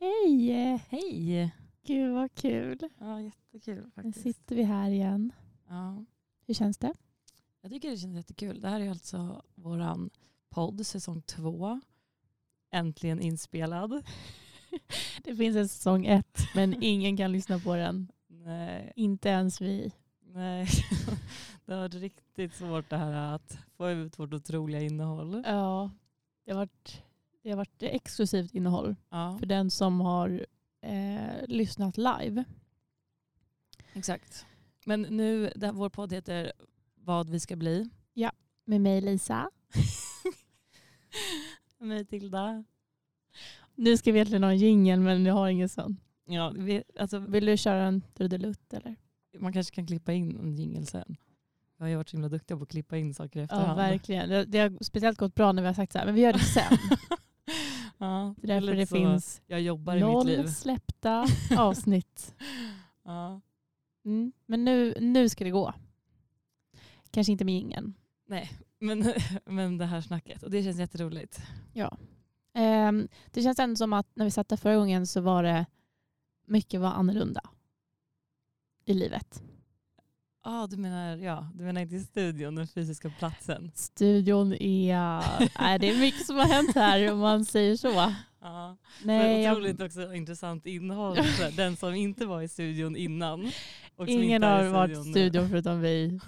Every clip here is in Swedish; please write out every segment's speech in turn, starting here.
Hej! Hej! Gud vad kul. Ja, jättekul Nu faktiskt. sitter vi här igen. Ja, Hur känns det? jag tycker det känns jättekul. Det här är alltså våran podd, säsong två. Äntligen inspelad. Det finns en säsong ett men ingen kan lyssna på den. Nej, Inte ens vi. nej. det har varit riktigt svårt det här att få ut vårt otroliga innehåll. Ja, det har varit, det har varit exklusivt innehåll Ja, för den som har eh, lyssnat live. exakt. Men nu, det, vår podd heter Vad vi ska bli. Med mig Lisa. Mig Tilda. Nu ska vi egentligen ha en jingel men jag har ingen sån. Ja, vi, alltså, Mm. Vill du köra en trudelutt eller? man kanske kan klippa in en jingel sen. Jag har ju varit så himla duktig på att klippa in saker i Ja, efterhand. verkligen. Det, det har speciellt gått bra när vi har sagt så här, men vi gör det sen. ja, Det är därför lite det så. finns Jag jobbar i mitt noll liv. släppta avsnitt. Ja. Mm. Men nu, nu ska det gå. Kanske inte med ingen. Men, men det här snacket. Och det känns jätteroligt. Ja. Ehm, det känns ändå som att när vi satt där förra gången så var det mycket var annorlunda i livet. Ah, du, menar, ja, du menar inte studion, den fysiska platsen? Studion är... Nej, det är mycket som har hänt här om man säger så. Ja. Nej, Men jag- otroligt också intressant innehåll. Så här, Den som inte var i studion innan. Och som ingen inte är har i varit i nu. studion förutom vi.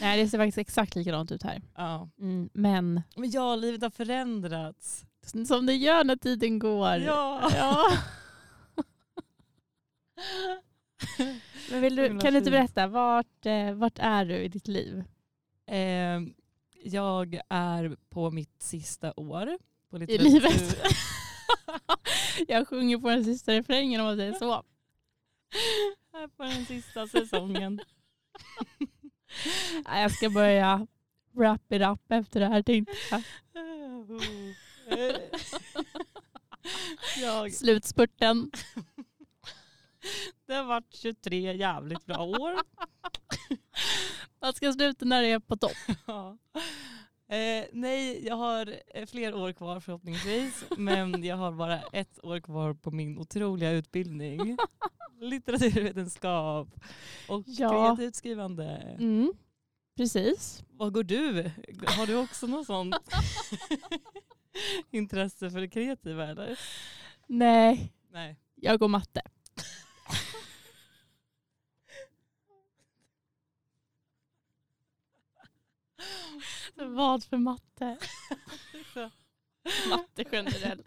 Nej, det ser faktiskt exakt likadant ut här. Ja. Mm, men Men ja, livet har förändrats. som det gör när tiden går. Ja. Ja. Men vill Så du, himla kan du inte fint. berätta, vart, eh, vart är du i ditt liv? Eh, jag är på mitt sista år. På I litteratur- livet? jag sjunger på den sista refrängen om man säger så. Här på den sista säsongen. Nej, Jag ska börja wrap it up efter det här tänkte jag. jag Slutspurten. Det har varit 23 jävligt bra år. Man ska sluta när det är på topp. Ja. Eh, nej, jag har eh, fler år kvar förhoppningsvis. Men jag har bara ett år kvar på min otroliga utbildning. Litteraturvetenskap och Ja. kreativt skrivande. Mm. Precis. Vad går du? Har du också något sånt intresse för det kreativa eller? Nej, Nej. jag går matte. Vad för matte? Matte generellt.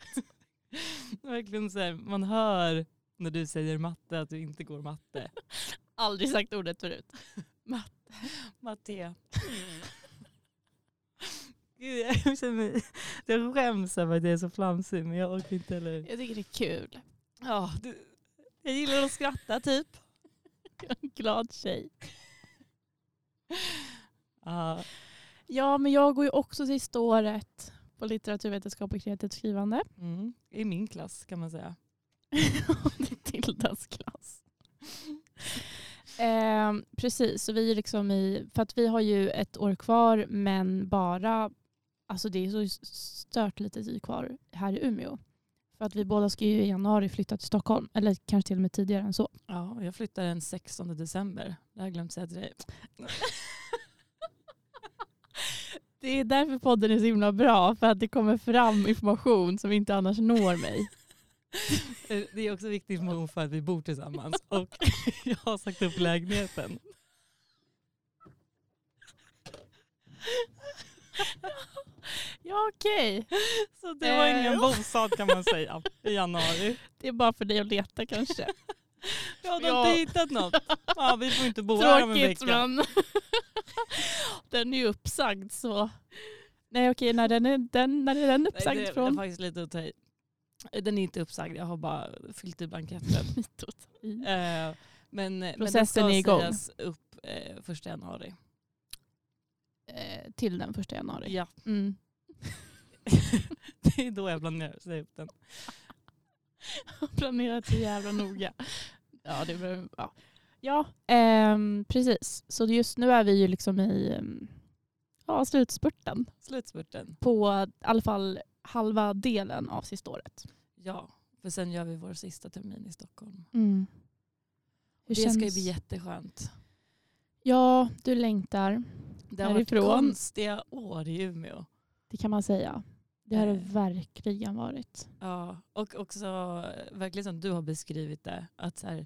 Verkligen så här, man hör när du säger matte att du inte går matte. Aldrig sagt ordet förut. Matte. Mm. Gud, jag, känner mig, jag skäms över att jag är så flamsig men jag orkar inte heller. Jag tycker det är kul. Ja, du, jag gillar att skratta typ. En glad tjej. Ja, Ja, men jag går ju också sista året på litteraturvetenskap och kreativt skrivande. mm, I min klass kan man säga. det är Tildas klass. Eh, precis, så vi är liksom i, för att vi har ju ett år kvar men bara, alltså det är så stört lite tid kvar här i Umeå. För att vi båda ska ju i januari flytta till Stockholm, eller kanske till och med tidigare än så. Ja, och jag flyttar den 16 december. Det har jag glömt säga till dig. Det är därför podden är så himla bra, för att det kommer fram information som inte annars når mig. Eh, Det är också viktig information för att vi bor tillsammans och jag har sagt upp lägenheten. Ja okej, Så det var Eh. ingen bostad kan man säga i januari. det är bara för dig att leta kanske. Jag har Ja. inte hittat något. Ja, vi får inte bo här om en Tråkigt vecka. men den är ju uppsagd så. Nej okej, när, den är, den, när är den uppsagd Nej, det, det är från? faktiskt lite att ta i. Den är inte uppsagd, jag har bara fyllt i blanketten. Lite att ta i. Eh, men, men Processen är den ska igång. sägas upp eh, första januari. Eh, till den första januari. Ja, Mm. det är då jag planerar att säga upp den. Planerat så jävla noga. Ja, det var, ja. ja ehm, precis. Så just nu är vi ju liksom i ehm, ja, slutspurten Slutspurten. på i alla fall halva delen av sista året. Ja, För sen gör vi vår sista termin i Stockholm. Mm. Hur det ska ju känns- bli jätteskönt. Ja, du längtar. Det har Härifrån. varit konstiga år i Umeå. Det kan man säga. Det har det Eh. verkligen varit. Ja, och också eh, verkligen som du har beskrivit det. Att så här,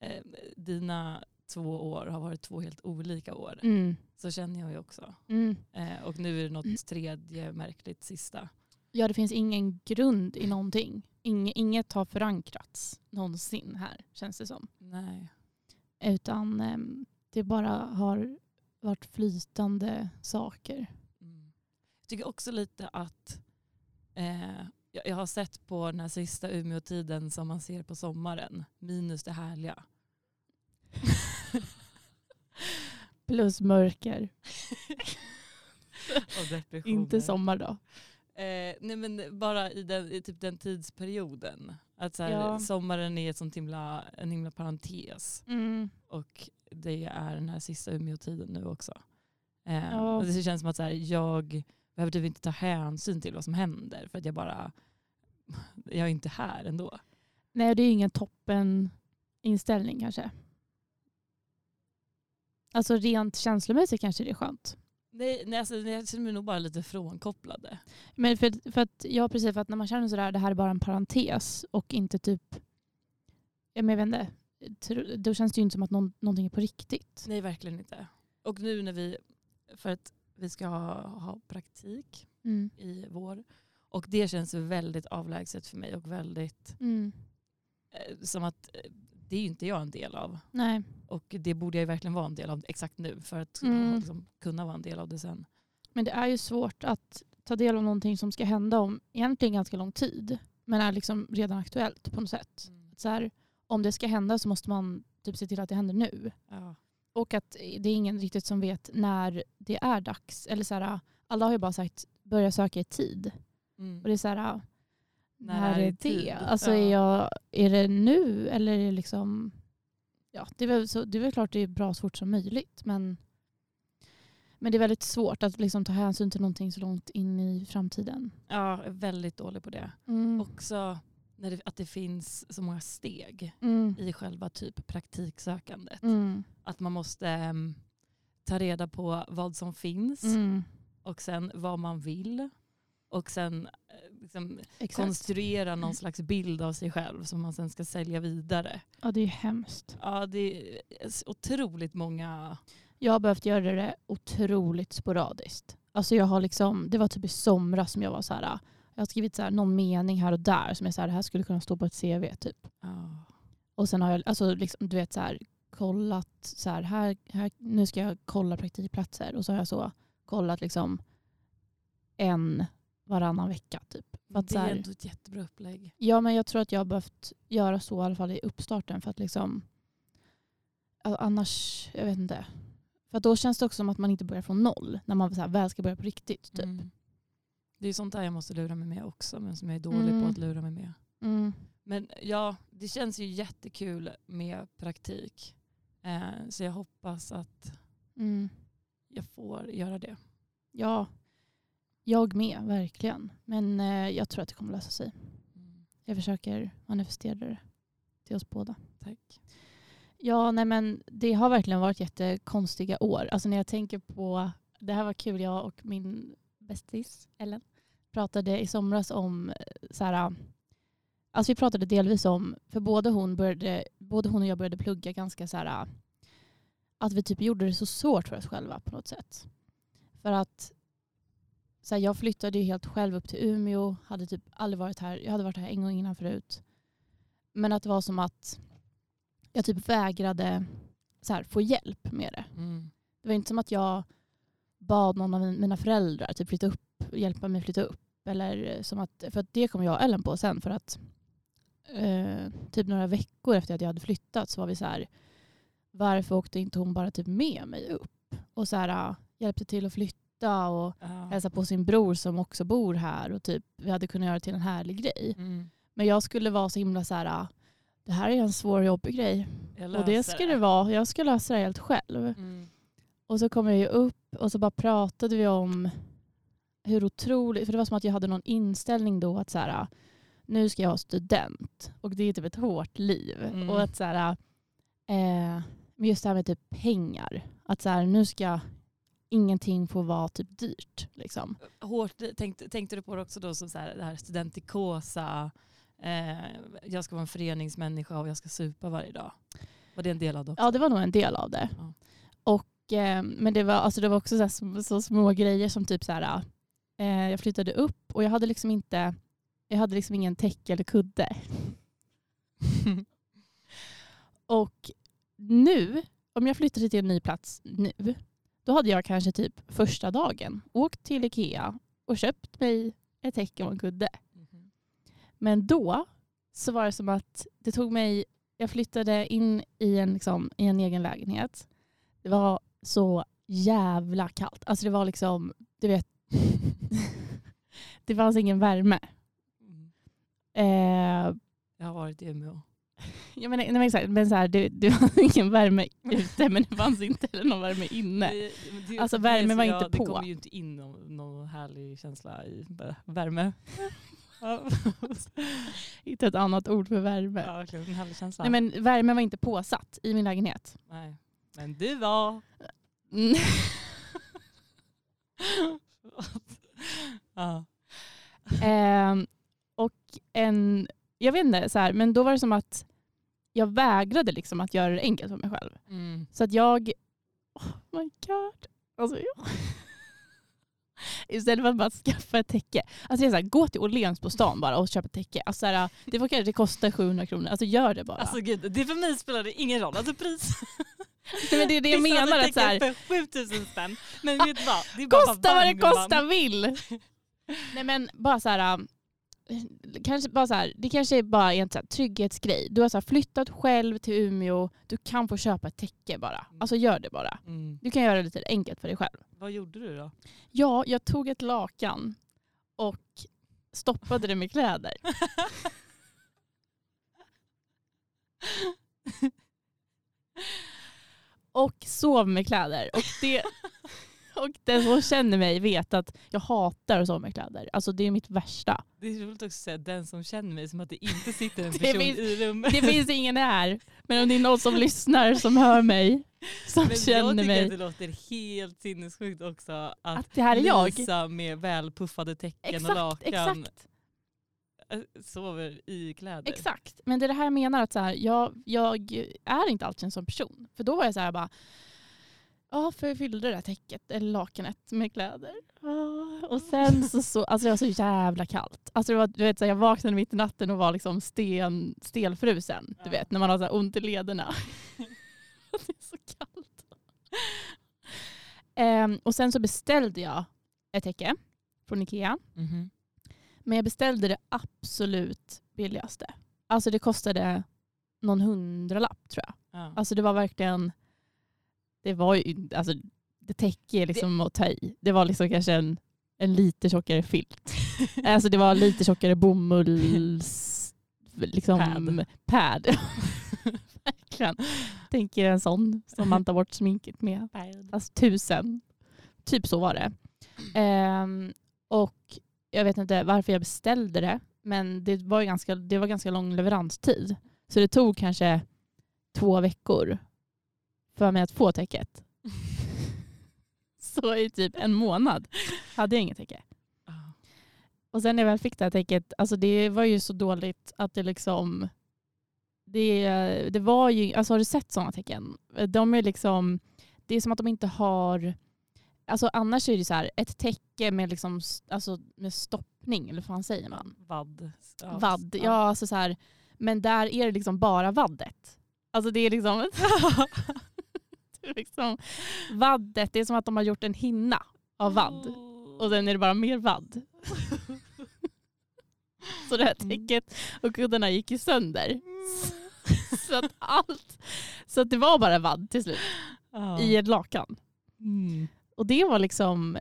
eh, dina två år har varit två helt olika år. Mm. Så känner jag ju också. Mm. Eh, och nu är det något tredje märkligt sista. Ja, det finns ingen grund i någonting. Inge- Inget har förankrats någonsin här, känns det som. Nej. Utan ehm, det bara har varit flytande saker. Mm. Jag tycker också lite att eh, jag, jag har sett på den här sista Umeå-tiden som man ser på sommaren, minus det härliga. Plus mörker. Och depressioner. Inte sommar då. Eh, nej men bara i, den, i typ den tidsperioden. Att så här, Ja. sommaren är ett sånt himla, en himla parentes. Och det är den här sista Umeå-tiden nu också. Eh, Ja. och det känns som att så här, jag behöver typ inte ta hänsyn till vad som händer. För att jag bara, jag är inte här ändå. Nej, det är ingen toppen inställning kanske. Alltså rent känslomässigt kanske det är skönt. Nej, nej alltså, jag känner mig nog bara lite frånkopplade. Men för, för att, ja, precis, för att när man känner sådär, det här är bara en parentes och inte typ, ja, men jag vet inte, tro- då känns det ju inte som att någon, någonting är på riktigt. Nej, verkligen inte. Och nu när vi, för att vi ska ha, ha praktik Mm. i vår. Och det känns väldigt avlägset för mig och väldigt Mm. eh, som att eh, det är ju inte jag en del av. Nej. Och det borde jag ju verkligen vara en del av exakt nu för att Mm. ha, liksom, kunna vara en del av det sen. Men det är ju svårt att ta del av någonting som ska hända om egentligen ganska lång tid. Men är liksom redan aktuellt på något sätt. Så här, om det ska hända så måste man typ se till att det händer nu. Ja. Och att det är ingen riktigt som vet när det är dags. Eller så här, alla har ju bara sagt börja söka i tid. Mm. Och det är så här, när, är det? tid? Alltså är, jag, är det nu eller är det liksom... Ja, det är väl, så, det är väl klart det är bra så fort som möjligt men, men det är väldigt svårt att liksom ta hänsyn till någonting så långt in i framtiden. ja, jag är väldigt dålig på det. Mm. Också när det, att det finns så många steg mm. i själva typ praktiksökandet. Mm. Att man måste ehm, ta reda på vad som finns Mm. och sen vad man vill. Och sen eh, liksom, Exakt. konstruera någon slags bild av sig själv som man sen ska sälja vidare. Ja, det är ju hemskt. Ja, det är otroligt många... Jag har behövt göra det otroligt sporadiskt. Alltså jag har liksom, det var typ i somras som jag var så här, "Ah, jag har skrivit så här, någon mening här och där som är så här, det här skulle kunna stå på ett CV typ. Ja. Och sen har jag alltså, liksom, du vet, så här, kollat, så här, här, här, nu ska jag kolla praktikplatser och så har jag så kollat liksom en varannan vecka typ. För att, Det så är här, ändå ett jättebra upplägg. Ja men jag tror att jag har behövt göra så i alla fall i uppstarten för att liksom alltså, annars, jag vet inte. För att då känns det också som att man inte börjar från noll när man så här, väl ska börja på riktigt. Typ. Mm. Det är sånt där jag måste lura mig med också, men som jag är dålig Mm. på att lura mig med. Mm. Men ja, det känns ju jättekul med praktik. Eh, så jag hoppas att Mm. jag får göra det. Ja, jag med verkligen. Men eh, jag tror att det kommer lösa sig. Mm. Jag försöker manifestera det till oss båda. Tack. Ja, nej men det har verkligen varit jättekonstiga år. Alltså när jag tänker på, det här var kul, jag och min bästis Ellen pratade i somras om eh, så här, alltså vi pratade delvis om, för både hon, började, både hon och jag började plugga ganska så här, äh, att vi typ gjorde det så svårt för oss själva på något sätt. För att så här, jag flyttade ju helt själv upp till Umeå, hade typ aldrig varit här, jag hade varit här en gång innan förut. Men att det var som att jag typ vägrade så här, få hjälp med det. Mm. Det var inte som att jag bad någon av min- mina föräldrar typ flytta upp, hjälpa mig flytta upp. Eller som att, för att det kom jag och Ellen på sen för att eh, typ några veckor efter att jag hade flyttat så var vi så här varför åkte inte hon bara typ med mig upp? Och så här, ah, hjälpte till att flytta och Ja. hälsa på sin bror som också bor här och typ vi hade kunnat göra det till en härlig grej. Mm. Men jag skulle vara så himla så här ah, det här är en svår och jobbig grej. Jag Och det löser ska det vara. Jag ska lösa det helt själv. Mm. Och så kom jag ju upp och så bara pratade vi om hur otroligt, för det var som att jag hade någon inställning då att så här, nu ska jag ha student och det är typ ett hårt liv. Mm. Och att så här, eh, men just det här med typ pengar, att så här, nu ska ingenting få vara typ dyrt. Liksom. Hårt, tänkte, tänkte du på det också då som så här, det här studentikosa, eh, jag ska vara en föreningsmänniska och jag ska supa varje dag. Var det en del av det? Ja det var nog en del av det. Ja. Och, eh, men det var, alltså, det var också så, här, sm- så små grejer som typ så här, eh, jag flyttade upp och jag hade liksom inte jag hade liksom ingen täcke eller kudde. Och nu, om jag flyttade till en ny plats nu, då hade jag kanske typ första dagen åkt till Ikea och köpt mig ett täcke och en kudde. Mhm. Men då så var det som att det tog mig, jag flyttade in i en, liksom, i en egen lägenhet. Det var så jävla kallt. Alltså det var liksom, du vet, det fanns ingen värme. Mm. Eh, Jag har varit i Umeå. jag menar, nej, men exakt, men så här, det, det fanns ingen värme ute men det fanns inte heller någon värme inne. Det- men det- Alltså, det är värmen så var jag- inte Det på. kommer ju inte in någon, någon härlig känsla i bara värme. ja, Inte ett annat ord för värme. ja, verkligen, en härlig känsla. Nej, men värmen var inte påsatt i min lägenhet. Nej. men du var... ja. Ehm, och en, jag vet inte, så här, men då var det som att jag vägrade liksom att göra det enkelt för mig själv. Mm. Så att jag, oh my god. Alltså, jag, istället för att bara skaffa ett täcke. Alltså det är så här, gå till Åhléns på stan bara och köp ett täcke. Alltså, så här, det, får, kanske- det kostar 700 kronor, alltså gör det bara. Alltså gud, det för mig spelar det ingen roll. Alltså pris. Nej, men det är det jag Vissa hade menar. Att, täckt så här, upp för 7000 spänn. Men vet du vad? Det är bara Kosta vad det varm, gumman. kosta vill. Nej men bara så här, äh, kanske bara så här, det kanske är bara en så här trygghetsgrej. Du har så här flyttat själv till Umeå, du kan få köpa ett täcke bara. Alltså gör det bara. Mm. Du kan göra det lite enkelt för dig själv. Vad gjorde du då? Ja, jag tog ett lakan och stoppade det med kläder. och sov med kläder. Och, det, och den som känner mig vet att jag hatar att sova med kläder. Alltså det är mitt värsta. Det är roligt också att säga den som känner mig som att det inte sitter en Det person finns- i rummet. Det finns ingen här, men om det är någon som lyssnar som hör mig, som Men jag känner tycker att mig. det låter helt sinnessjukt också att, Att det här är jag. Lisa med välpuffade täcken och Exakt, lakan exakt. eh, sover i kläder. Exakt, men det är det här jag menar att så här, jag, jag är inte alltid en sån person. För då var jag så här bara, ja för jag fyllde det där täcket eller lakanet med kläder. Ja, Ah, Och sen så, så alltså det var så jävla kallt. Alltså det var, du vet, så här, jag vaknade mitt i natten och var liksom sten, stelfrusen. Du Ja. vet när man har så här ont i lederna. det är så kallt. Ehm, och sen så beställde jag ett täcke från Ikea. Mm-hmm. Mhm. Men jag beställde det absolut billigaste. Alltså det kostade någon hundralapp tror jag. Ja. Alltså det var verkligen, det var ju, alltså det täcker liksom att ta i. Det var liksom kanske en, en lite tjockare filt. alltså det var lite tjockare bomulls, liksom Pad. pad. verkligen. Tänker en sån som man tar bort sminket med. Alltså tusen. Typ så var det. Ehm, och jag vet inte varför jag beställde det. Men det var, ju ganska, det var ganska lång leveranstid. Så det tog kanske två veckor för mig att få täcket. Så i typ en månad hade jag inget täcke. Ja. Och sen när jag väl fick det här täcket, alltså det var ju så dåligt att det liksom... Det, det var ju, alltså har du sett sådana tecken? De är liksom, det är som att de inte har... Alltså annars är det så här, ett täcke med, liksom, s- alltså med stoppning, eller vad fan säger man? Vadd. Ja. Vadd. Ja, alltså så här, men där är det liksom bara vaddet. Alltså det är liksom... det är liksom vaddet, det är som att de har gjort en hinna av vadd. Oh. Och sen är det bara mer vadd. Så det här Mm. täcket och kuddarna gick ju sönder. Mm. Så att allt, så att det var bara vadd till slut Ja. i ett lakan. Mm. Och det var liksom,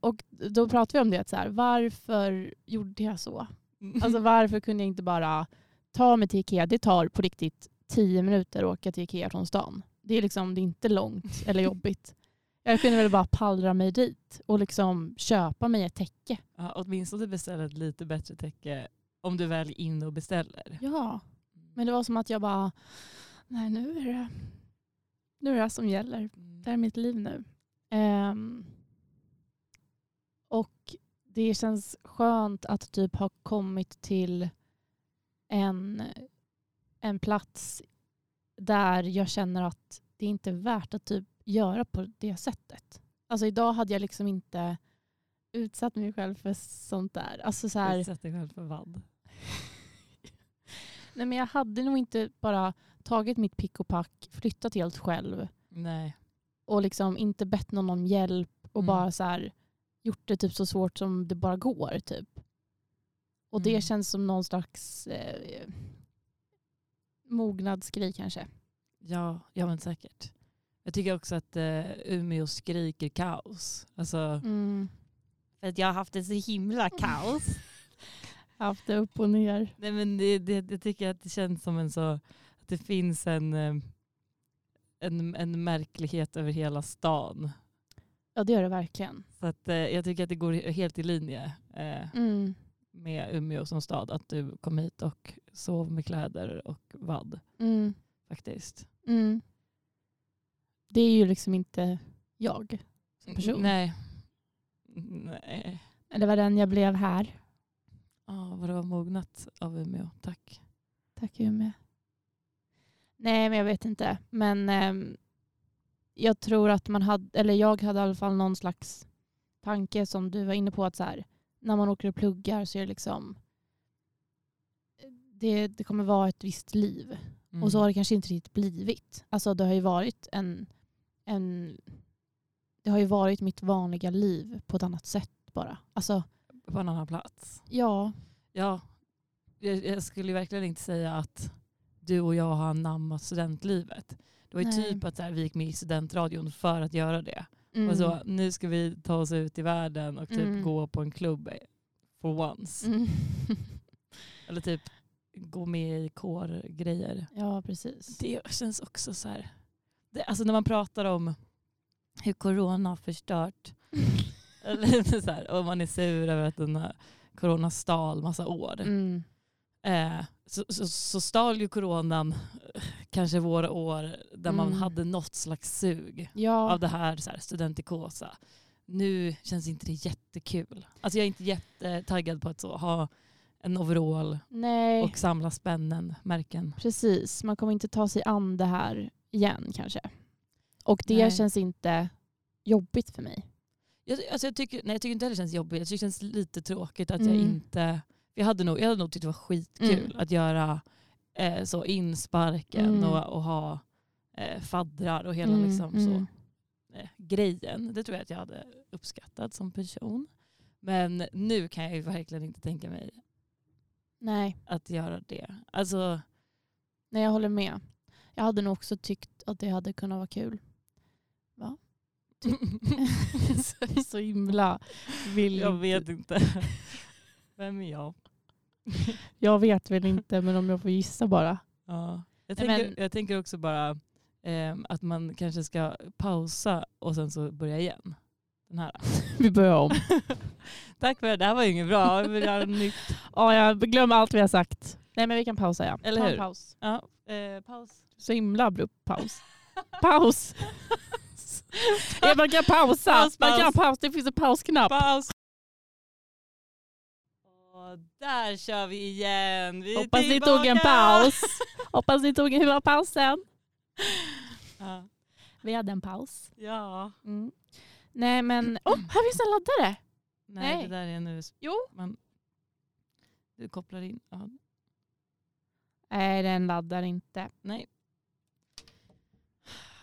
och då pratade vi om det, att så här, varför gjorde jag så? Alltså varför kunde jag inte bara ta mig till Ikea? Det tar på riktigt tio minuter att åka till Ikea från stan. Det är liksom det är inte långt eller jobbigt. Jag kunde väl bara pallra mig dit och liksom köpa mig ett täcke. typ ja, åtminstone beställa ett lite bättre täcke Om du väl är inne och beställer. Ja, men det var som att jag bara, nej nu är det, nu är det här som gäller. Mm. Det här är mitt liv nu. Ehm, och det känns skönt att typ ha kommit till en, en plats där jag känner att det inte är värt att typ göra på det sättet. Alltså idag hade jag liksom inte utsatt mig själv för sånt där. Alltså så här, Du sätter dig själv för vad? nej men jag hade nog inte bara tagit mitt pick och pack, flyttat helt själv Nej. och liksom inte bett någon om hjälp och Mm. bara så här, gjort det typ så svårt som det bara går. Typ. Och Mm. det känns som någon slags eh, mognadsgrej kanske. Ja, ja men säkert. Jag tycker också att eh, Umeå skriker kaos. Alltså, Mm. för att jag har haft det så himla kaos. Haft det upp och ner. Nej, men det, det, jag tycker att det känns som en så, att det finns en, eh, en, en märklighet över hela stan. Ja det gör det verkligen. Så att, eh, jag tycker att det går helt i linje eh, Mm. med Umeå som stad att du kom hit och sov med kläder och vadd Mm. faktiskt. Mm. Det är ju liksom inte jag som person. Mm, Nej. Nej. Det var den jag blev här. Oh, vad det var mognat av Umeå, tack. Tack Umeå. Nej men jag vet inte. Men ehm, jag tror att man hade, eller jag hade i alla fall någon slags tanke som du var inne på att så här, när man åker och pluggar så är det liksom det, det kommer vara ett visst liv. Mm. Och så har det kanske inte riktigt blivit. Alltså det har ju varit en, en det har ju varit mitt vanliga liv på ett annat sätt bara. Alltså Mm. På en annan plats. ja, Ja, jag, jag skulle ju verkligen inte säga att du och jag har anammat studentlivet. Det var ju Nej. typ att så här, vi gick med i studentradion för att göra det. mm, Och så, nu ska vi ta oss ut i världen och typ Mm. gå på en klubb eh, for once. Mm. Eller typ gå med i kårgrejer. ja precis. Det känns också så här. Det, alltså när man pratar om hur corona har förstört. eller lite så här, och man är sur över att den här corona stal massa år. Mm. Eh, så, så, så stal ju coronan eh, kanske våra år där man Mm. hade något slags sug Ja, av det här, så här studentikosa. Nu känns inte det jättekul. Alltså jag är inte jättetaggad på att så, ha en overall nej. och samla spännen, märken. Precis, man kommer inte ta sig an det här igen kanske. Och det Nej. känns inte jobbigt för mig. Jag, alltså jag, tycker, nej, jag tycker inte heller det känns jobbigt. Jag tycker det känns lite tråkigt att jag Mm. inte... Jag hade, nog, jag hade nog tyckt det var skitkul Mm. att göra eh, så insparken Mm. och, och ha eh, faddrar och hela Mm, liksom mm. så, eh, grejen. Det tror jag att jag hade uppskattat som person. Men nu kan jag ju verkligen inte tänka mig Nej, att göra det. Alltså, nej, jag håller med. Jag hade nog också tyckt att det hade kunnat vara kul. Typ. Så, så himla vill jag inte- vet inte. Vem är jag? Jag vet väl inte, men om jag får gissa bara. Ja. Jag, Nej, tänker, men- jag tänker också bara ehm, att man kanske ska pausa och sen så börja igen. Den här. Vi börjar om. Tack för det, det här var ju inget bra. Jag vill göra nytt. Ja, jag glömmer allt vi har sagt. Nej, men vi kan pausa ja. Eller Ta en hur? Paus. Ja, eh, paus. Så himla abrupt paus. Paus! Ja, man kan pausa. Paus, Man kan paus. pausa. Det finns en pausknapp. Paus. Och där kör vi igen. Vi är Hoppas ni tog en tillbaka. paus. Hoppas ni tog en hur var pausen? Ja. Vi hade en paus. ja. Mm. Nej men, oh, här finns en laddare. Nej, Nej. det där är en USB. Jo. Man, du kopplar in. Ja. Nej den laddar inte. Nej.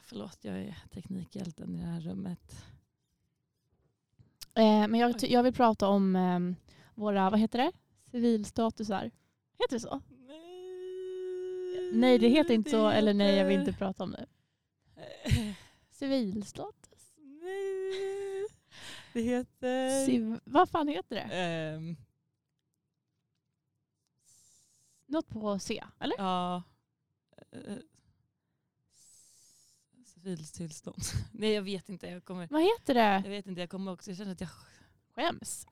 Förlåt, jag är teknikhjälten i det här rummet. Eh, men jag, ty- jag vill prata om eh, våra, vad heter det? Civilstatusar. Heter det så? Nej, Nej det heter inte så, eller nej jag vill inte prata om det. Civilstatus? Nej, det Eh. heter... Civ- vad fan heter det? Ehm, Något på C, eller? ja. Eh, Civilstillstånd. Nej, jag vet inte. Jag kommer, Vad heter det? jag vet inte, jag kommer också... Jag känner att jag... Skäms.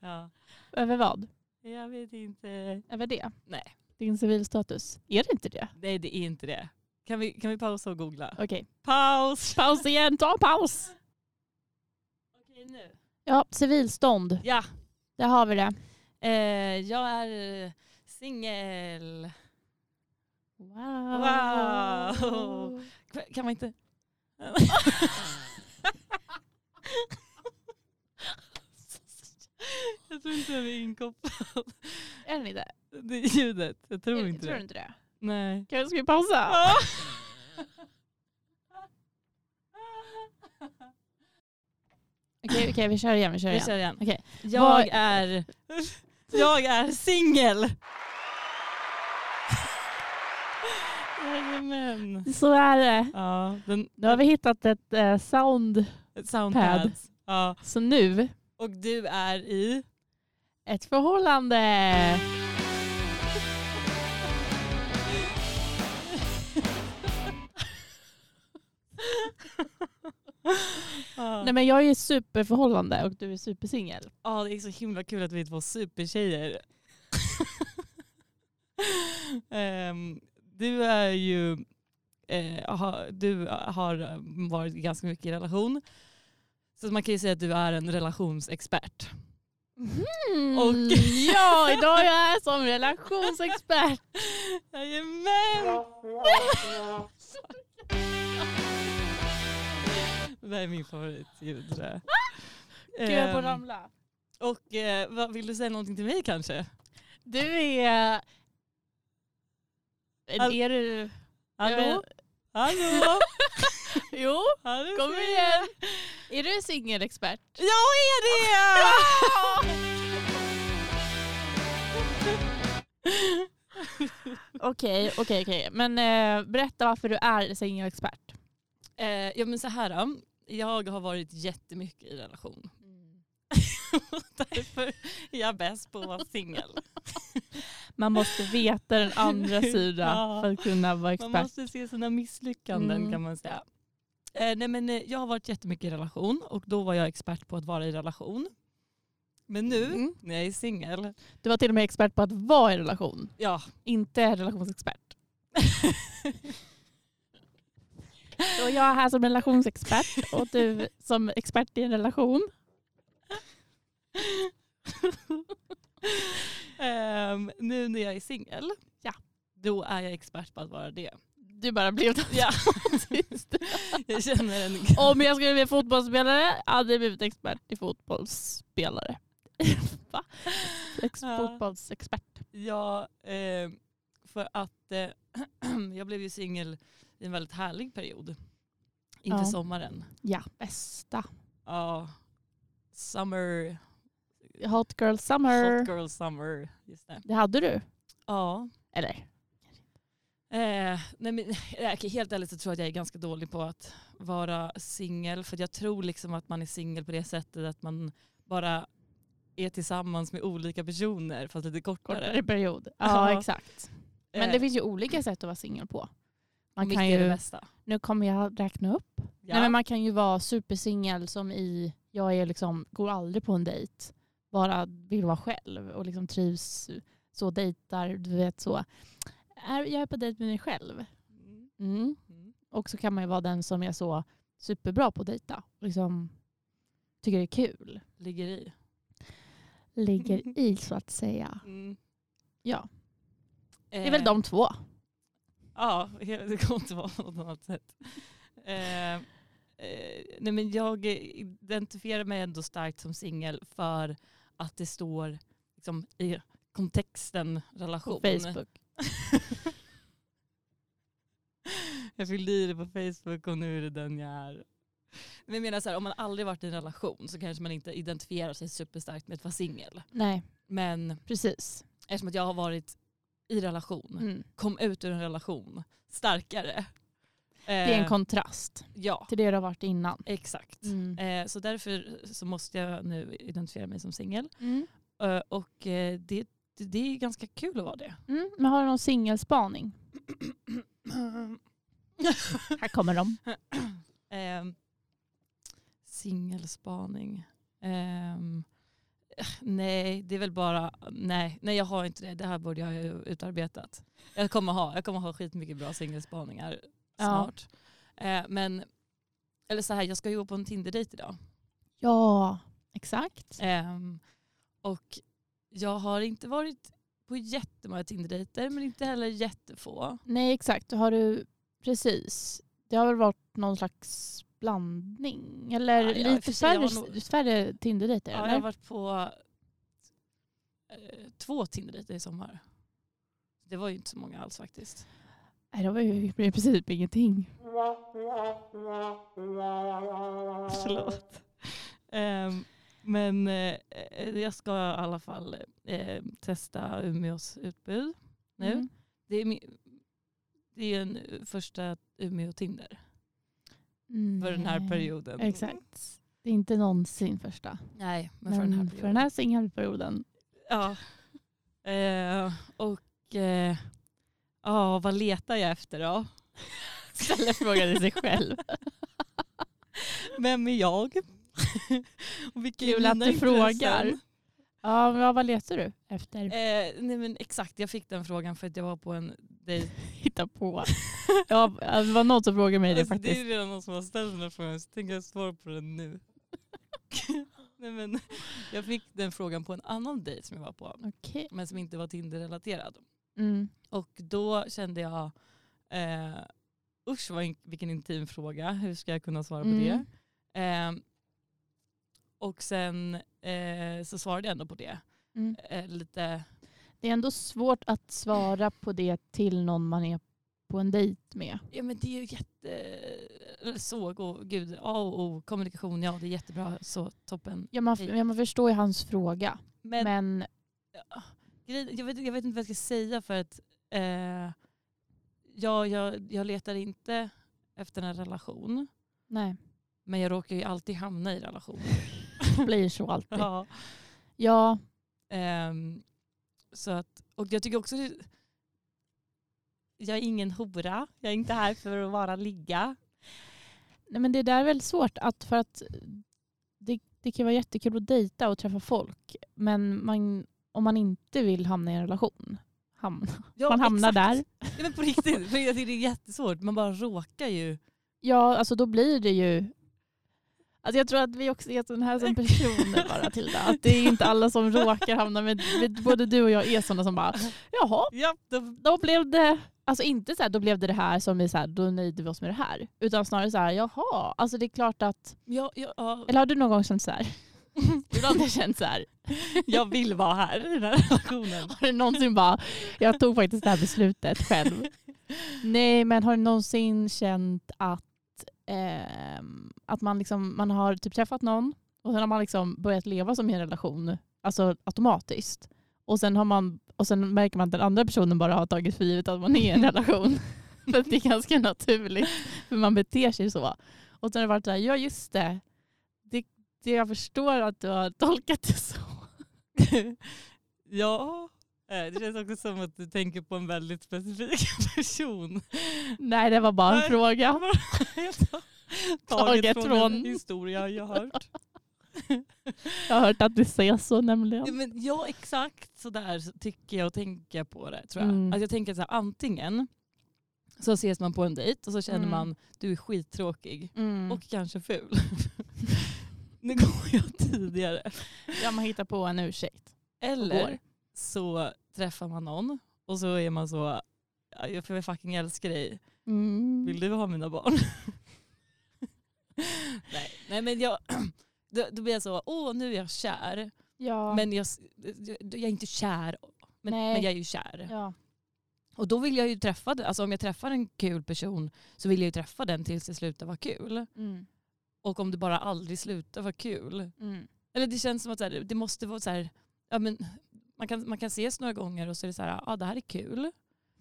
ja. Över vad? Jag vet inte. Är väl det? Nej. Din civilstatus? Är det inte det? Nej, det är inte det. Kan vi, kan vi pausa och googla? Okej. Paus! Paus igen, ta en paus! Okej, nu. Ja, civilstånd. Ja, Där har vi det. eh, jag är eh, singel. Wow. Wow. Kan man inte... jag tror inte jag är inkopplad. Är den inte? Det är ljudet. Jag tror inte Tror du det. inte det? Nej. Kan ska vi pausa? Ah! Okej, okej, vi kör igen. Vi kör Vi igen. kör igen. Okej. Jag Vad- är... Jag är singel! Jajamän. Så är det. Ja, den, Nu har vi hittat ett eh, sound. soundpad. Ja. Så nu, Och du är i... ett förhållande. Ja. Nej men jag är superförhållande och du är supersingel. Ja, ah, det är så himla kul att vi är två supertjejer. Ehm, du är ju... eh, ha, du har varit ganska mycket i relation. Så man kan ju säga att du är en relationsexpert. Mm. Och- ja, idag är jag här som relationsexpert. Jajamän! Det där är min favoritljud tror jag. Gud, jag får Ehm, ramla. och eh, vad, vill du säga någonting till mig kanske? Du är... All- Är du... Hallå? Jag- Hallå? Jo, Hallå? kom igen. Är du singelexpert? Jag är det! Okej, okej, okej. Men eh, berätta varför du är singelexpert. Eh, ja men så här. då. Jag har varit jättemycket i relation. Därför är jag bäst på att vara singel. Man måste veta den andra sidan Ja. för att kunna vara Man expert. måste se sina misslyckanden Mm. kan man säga. Eh, nej men eh, jag har varit jättemycket i relation och då var jag expert på att vara i relation. Men nu Mm. när jag är singel, Du var till och med expert på att vara i relation, ja. inte relationsexpert. Så jag är här som relationsexpert och du som expert i en relation. Ehm, nu när jag är singel, Ja. då är jag expert på att vara det. Du bara blev Ja. automatiskt. Jag känner en... Om jag skulle bli fotbollsspelare hade jag blivit expert i fotbollsspelare. Va? Ex- Ja. Fotbollsexpert. Ja, eh, för att eh, jag blev ju singel i en väldigt härlig period. Inför Ja. sommaren. Ja, bästa. Ja, summer, Hot girl summer. hot girl summer. Just det. Det hade du? Ja. Eller? Eh, nej men, eh, okej, helt ärligt så tror jag att jag är ganska dålig på att vara singel. För att jag tror liksom att man är singel på det sättet att man bara är tillsammans med olika personer fast lite kortare. Kortare period. Ja. Ja, exakt. Men Eh, det finns ju olika sätt att vara singel på. Man vilket kan är det ju, bästa? nu kommer jag räkna upp. Ja. Nej, men man kan ju vara supersingel som i, jag är liksom, går aldrig på en dejt. Bara vill vara själv och liksom trivs. Så dejtar, du vet så. Är- Jag är på dejt med mig själv. Mm, Mm. mm. Och så kan man ju vara den som är så superbra på att dejta. Och liksom tycker det är kul. Ligger i. Ligger i så att säga. Mm. Ja, det är Eh, väl de två. Ja, det kommer inte vara på något annat sätt. Eh, eh, nej men jag identifierar mig ändå starkt som singel för att det står liksom, i kontexten relation. På Facebook. Jag fyllde i det på Facebook och nu är det den jag är. Men jag menar så här, om man aldrig varit i en relation så kanske man inte identifierar sig superstarkt med att vara singel. Nej, Men precis. eftersom att jag har varit i relation, Mm. kom ut ur en relation starkare. Det är en Eh, kontrast Ja, till det du har varit innan. exakt. Mm. Eh, så därför så måste jag nu identifiera mig som singel. Mm. Eh, och eh, det, det, det är ganska kul att vara det. Mm. Men har du någon singelspaning? Här kommer de. Ehm, Singelspaning. Ehm, Nej, det är väl bara, nej, nej jag har inte det. Det här borde jag ha utarbetat. Jag kommer ha, jag kommer ha skitmycket bra singelspaningar Ja. snart. Eh, men, eller så här, jag ska ju gå på en Tinder-dejt idag. Ja, exakt. Ehm, och jag har inte varit på jättemånga Tinder-dejter men inte heller jättefå. Nej, exakt. Har du, precis. Det har väl varit någon slags blandning? Eller Ja, ja, i och för lite sig, jag färre, har nog- färre Tinder-dejter? Ja, jag eller? har varit på eh, två Tinder-dejter i sommar. Det var ju inte så många alls faktiskt. Nej, det var ju i princip ingenting. Förlåt. Ehm, men eh, eh, jag ska i alla fall eh, testa Umeås utbud nu. Mm. Det är min, det är en eh, första Umeå-Tinder för den här Mm. Nej. perioden. Exakt. Det är inte någonsin första. Nej, men, Men för den här för den perioden. här singelperioden. Ja. Eh, och eh, ja, vad letar jag efter då? Ställer frågan till sig själv. Vem är jag? Och vilka är Kul att mina du frågar. intressen? ja, men ja, vad letar du efter? Eh, nej men exakt, jag fick den frågan för att jag var på en dejt. Hitta på. ja, alltså, det var någon som frågade mig det Alltså, faktiskt. det är redan någon som har ställt den här frågan så tänker jag svara på den nu. nej, men, jag fick den frågan på en annan dejt som jag var på Okej. men som inte var Tinder-relaterad. Mm. Och då kände jag, eh, usch vad in, vilken intim fråga, hur ska jag kunna svara på det? Mm. Eh, och sen eh, så svarade jag ändå på det. Mm. Eh, lite, Det är ändå svårt att svara på det till någon man är på en dejt med. ja men det är ju jätte, eller så, gå- gud, A och O, kommunikation, ja det är jättebra, så toppen. Ja, man, Hej. ja, man förstår ju hans fråga. Men, Men, grejen- jag, vet, jag vet inte vad jag ska säga för att eh, jag, jag, jag letar inte efter en relation, nej, men jag råkar ju alltid hamna i relationer. det blir så alltid. Ja, Ja. ja, Ehm, så att, och jag tycker också det- jag är ingen hora, jag är inte här för att vara ligga. nej, men det där är väl svårt att för att det, det kan vara jättekul att dejta och träffa folk. Men man, om man inte vill hamna i en relation, hamna, Ja, man hamnar där. Nej, men på riktigt, för jag tycker det är jättesvårt. Man bara råkar ju. Ja, alltså då blir det ju... Alltså jag tror att vi också är sådana här som personer bara Tilda. Att det är inte alla som råkar hamna med... Både du och jag är sådana som bara jaha, Ja, då, då blev det... Alltså inte så här, då blev det det här som är så här, då nöjde vi oss med det här. Utan snarare så här, jaha, alltså det är klart att... ja, ja, ja, Eller har du någon gång känt så här? Ibland har jag känt så här. jag vill vara här i den här relationen. Har du någonsin bara, jag tog faktiskt det här beslutet själv. Nej, men har du någonsin känt att, ehm, att man, liksom, man har typ träffat någon och sen har man liksom börjat leva som i en relation, alltså automatiskt. Och sen, har man, och sen märker man att den andra personen bara har tagit för givet att man är i en relation. för att det är ganska naturligt, för man beter sig så. Och sen har det varit så här, ja just det, det, det jag förstår att du har tolkat det så. ja, eh, det känns också som att du tänker på en väldigt specifik person. Nej, det var bara Nej. en fråga. Helt Taget Taget från, en från- historia jag har hört. Jag har hört att du säger så nämligen. Ja, men ja exakt så där så tycker jag och tänker på det tror jag. Mm. Att jag tänker så här, antingen så ses man på en dejt och så känner Mm. man du är skittråkig Mm. och kanske ful. nu går jag tidigare. ja, man hittar på en ursäkt. Eller går. så träffar man någon och så är man så "Ja, jag får fucking älska dig. Mm. Vill du ha mina barn? nej, nej men jag, då, då blir jag så åh nu är jag kär. Ja. Men jag, jag är inte kär. Men, Nej. men jag är ju kär. ja. Och då vill jag ju träffa den. Alltså om jag träffar en kul person så vill jag ju träffa den tills det slutar vara kul. Mm. Och om det bara aldrig slutar vara kul. Mm. Eller det känns som att så här, det måste vara så här, ja men man kan, man kan ses några gånger och så är det så här, ja ah, det här är kul.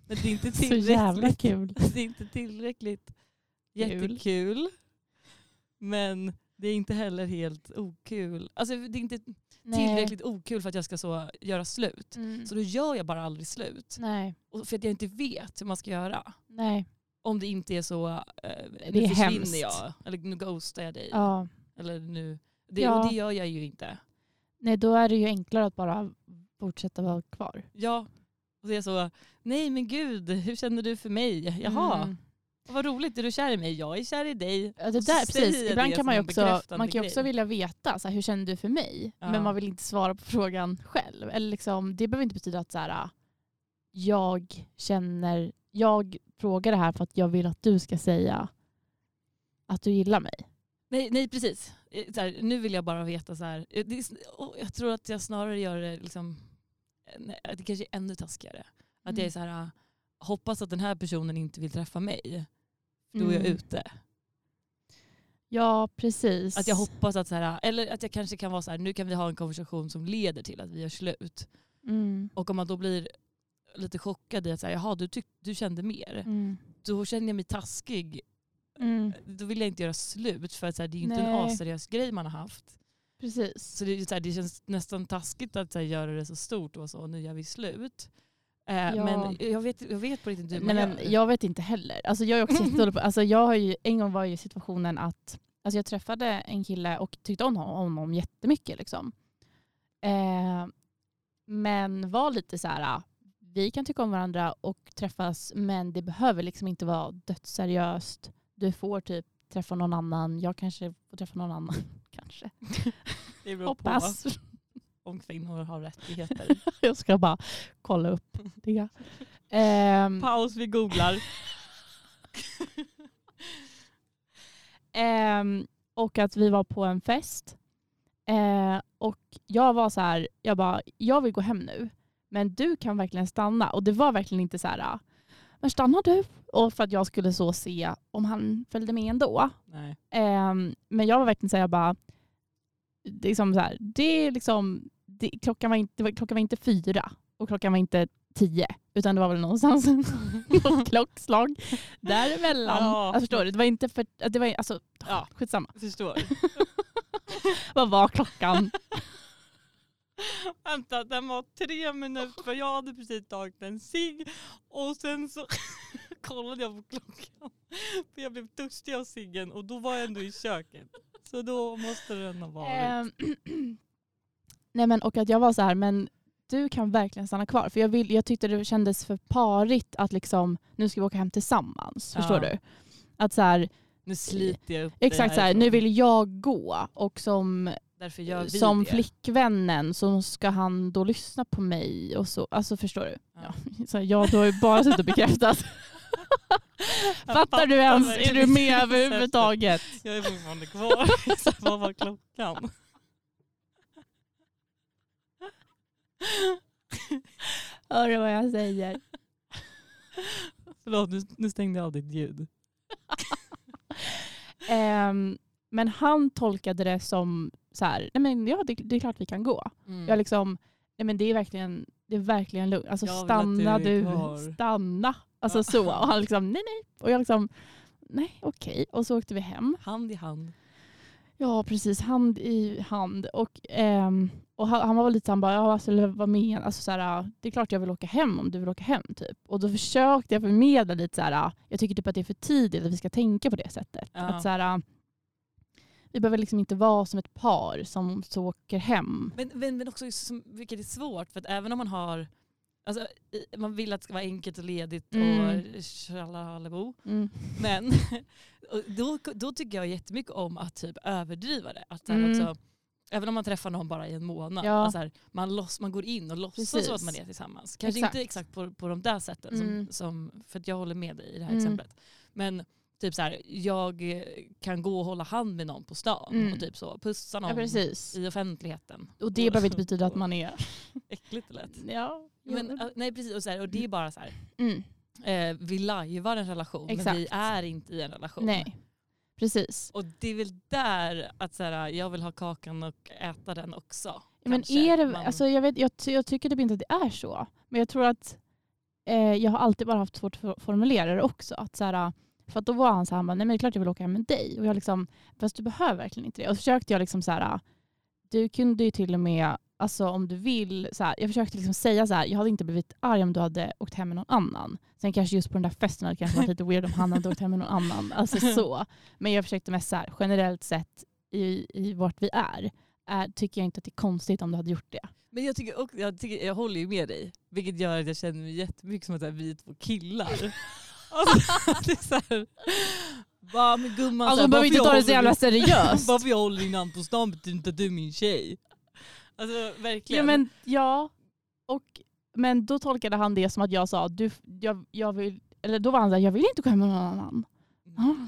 Men det är inte Så tillräckligt. jävla kul. Det är inte tillräckligt Kul. jättekul. Men det är inte heller helt okul. Alltså det är inte tillräckligt okul för att jag ska så göra slut. Mm. Så då gör jag bara aldrig slut. Nej. Och för att jag inte vet hur man ska göra. Nej. Om det inte är så, eh, nu är försvinner hemskt. jag. Eller nu ghostar jag dig. Ja. Eller nu. Det, Ja. Och det gör jag ju inte. Nej, då är det ju enklare att bara fortsätta vara kvar. Ja. Och så är jag så, nej men gud, hur känner du för mig? Jaha, Mm. vad roligt, är du kär i mig? Jag är kär i dig. Ja, det Så där, säger precis. det Ibland kan som man ju en också, bekräftande man kan ju också grej. vilja veta så här, hur känner du för mig? Ja. Men man vill inte svara på frågan själv. Eller liksom, det behöver inte betyda att så här, ah, jag känner, jag frågar det här för att jag vill att du ska säga att du gillar mig. Nej, nej precis. Eh, Så här, nu vill jag bara veta så här. eh, Det är, sn- åh, jag tror att jag snarare gör det liksom, eh, nej, det kanske är ännu taskigare. Att jag är Mm. så här, ah, hoppas att den här personen inte vill träffa mig. För då är jag Mm. ute. Ja, precis. Att jag hoppas att så här, eller att jag kanske kan vara så här, nu kan vi ha en konversation som leder till att vi gör slut. Mm. Och om man då blir lite chockad i att så här, jaha du, tyck, du kände mer. Mm. Då känner jag mig taskig. Mm. Då vill jag inte göra slut för att så här, det är ju inte en Nej. aseriös grej man har haft. Precis. Så det, är ju så här, det känns nästan taskigt att så här, göra det så stort och så, nu gör vi slut. Eh, Ja. Men jag vet, jag vet på riktigt inte hur Nej, man men gör. jag vet inte heller. Alltså, jag är också jättedålig på, alltså, jag har ju, en gång var ju situationen att alltså, jag träffade en kille och tyckte om honom, om honom jättemycket. Liksom. Eh, men var lite så här, ah, vi kan tycka om varandra och träffas men det behöver liksom inte vara dödsseriöst. Du får typ träffa någon annan, jag kanske får träffa någon annan. Kanske. det beror Hoppas. på om kvinnor har rättigheter. Jag ska bara kolla upp det. Ehm, Paus, vi googlar. Ehm, och att vi var på en fest. Eh, och jag var så här, jag bara, jag vill gå hem nu. Men du kan verkligen stanna. Och det var verkligen inte så här, ah, men stannar du? Och för att jag skulle så se om han följde med ändå. Nej. Ehm, men jag var verkligen så här, jag bara, det är liksom så här, det är liksom, det, klockan, var inte, det var, klockan var inte fyra och klockan var inte tio. Utan det var väl någonstans något klockslag däremellan. Ja. Alltså, förstår du? Det var inte för, att det var, alltså, Ja. skitsamma. Förstår. Vad var klockan? Vänta, den var tre minuter för jag hade precis tagit en cigg och sen så kollade jag på klockan. För jag blev törstig av ciggen och då var jag ändå i köket. Så då måste den ha varit. Ehm, Nej men och att jag var så här, men du kan verkligen stanna kvar. För jag, vill, jag tyckte det kändes för parigt att liksom, nu ska vi åka hem tillsammans. Förstår Ja. du? Att så här, Nu sliter jag upp dig exakt så här, härifrån. nu vill jag gå och som, Därför gör vi som det. flickvännen så ska han då lyssna på mig och så. Alltså förstår du? Ja. Ja, så här, ja du har ju bara suttit och bekräftat. Fattar du ens? Är du med överhuvudtaget? Jag är fortfarande kvar. Så vad var klockan? Hör du vad jag säger? Förlåt, nu, nu stängde jag av ditt ljud. Ehm, men han tolkade det som så här, nej men ja det, det är klart vi kan gå. Mm. Jag liksom, nej men det är verkligen, det är verkligen lugnt. Alltså Jag vill att stanna du är du, kvar. stanna. Alltså Ja. så. Och han liksom, nej nej. Och jag liksom, nej okej. Och så åkte vi hem. liksom Hand i hand. Ja precis, hand i hand. Och, ehm, och han, han var väl lite såhär, bara, ja, alltså, eller vad menar alltså, så här, Det är klart jag vill åka hem om du vill åka hem typ. Och då försökte jag förmedla lite så här, jag tycker typ att det är för tidigt att vi ska tänka på det sättet. Ja. Att, så här, vi behöver liksom inte vara som ett par som så åker hem. Men, men, men också, som, vilket är svårt, för att även om man har Alltså, i- man vill att det ska vara enkelt och ledigt Mm. och tjallalebo. Mm. Men och då, då tycker jag jättemycket om att typ överdriva det. Att så här Mm. också, även om man träffar någon bara i en månad, Ja. att så här, man, loss, man går in och låtsas Precis. så att man är tillsammans. Kanske Exakt. inte exakt på, på de där sätten, Mm. som, som, för att jag håller med dig i det här Mm. exemplet. Men typ så här, jag eh, kan gå och hålla hand med någon på stan Mm. och typ så, pussa Ja, någon precis. i offentligheten. Och det behöver inte betyda att man är... Äckligt det lät. Mm. Ja, Men, eh, nej precis, och, så här, och det är bara så här, mm. eh, vi lajvar en relation men vi Exakt. är inte i en relation. Nej, precis. Och det är väl där att så här, jag vill ha kakan och äta den också. Ja, Men kanske. är det, Man- alltså jag, vet, jag, ty- jag tycker typ inte att det är så. Men jag tror att eh, jag har alltid bara haft svårt för att formulera det också. Att så här, för att då var han så här, han bara, nej men det är klart jag vill åka hem med dig. Och jag liksom, fast du behöver verkligen inte det. Och så försökte jag liksom så här, du kunde ju till och med, alltså om du vill, så här, jag försökte liksom säga så här, jag hade inte blivit arg om du hade åkt hem med någon annan. Sen kanske just på den där festen hade det kanske varit lite weird om han hade åkt hem med någon annan. Alltså så. Men jag försökte mest så här, generellt sett i, i vart vi är är, tycker jag inte att det är konstigt om du hade gjort det. Men jag, tycker, också- jag, tycker, jag håller ju med dig, vilket gör att jag känner mig jättemycket som att så här, vi är två killar. alltså, det är så här, bara med gumman. så Alltså här, hon behöver varför inte ta jag det så jävla håller- seriöst. Varför jag håller din hand på stan betyder inte att du är min tjej. Alltså verkligen. ja, men, ja, och, men då tolkade han det som att jag sa, du, jag, jag vill, eller då var han såhär, jag vill inte gå hem med någon annan. Mm.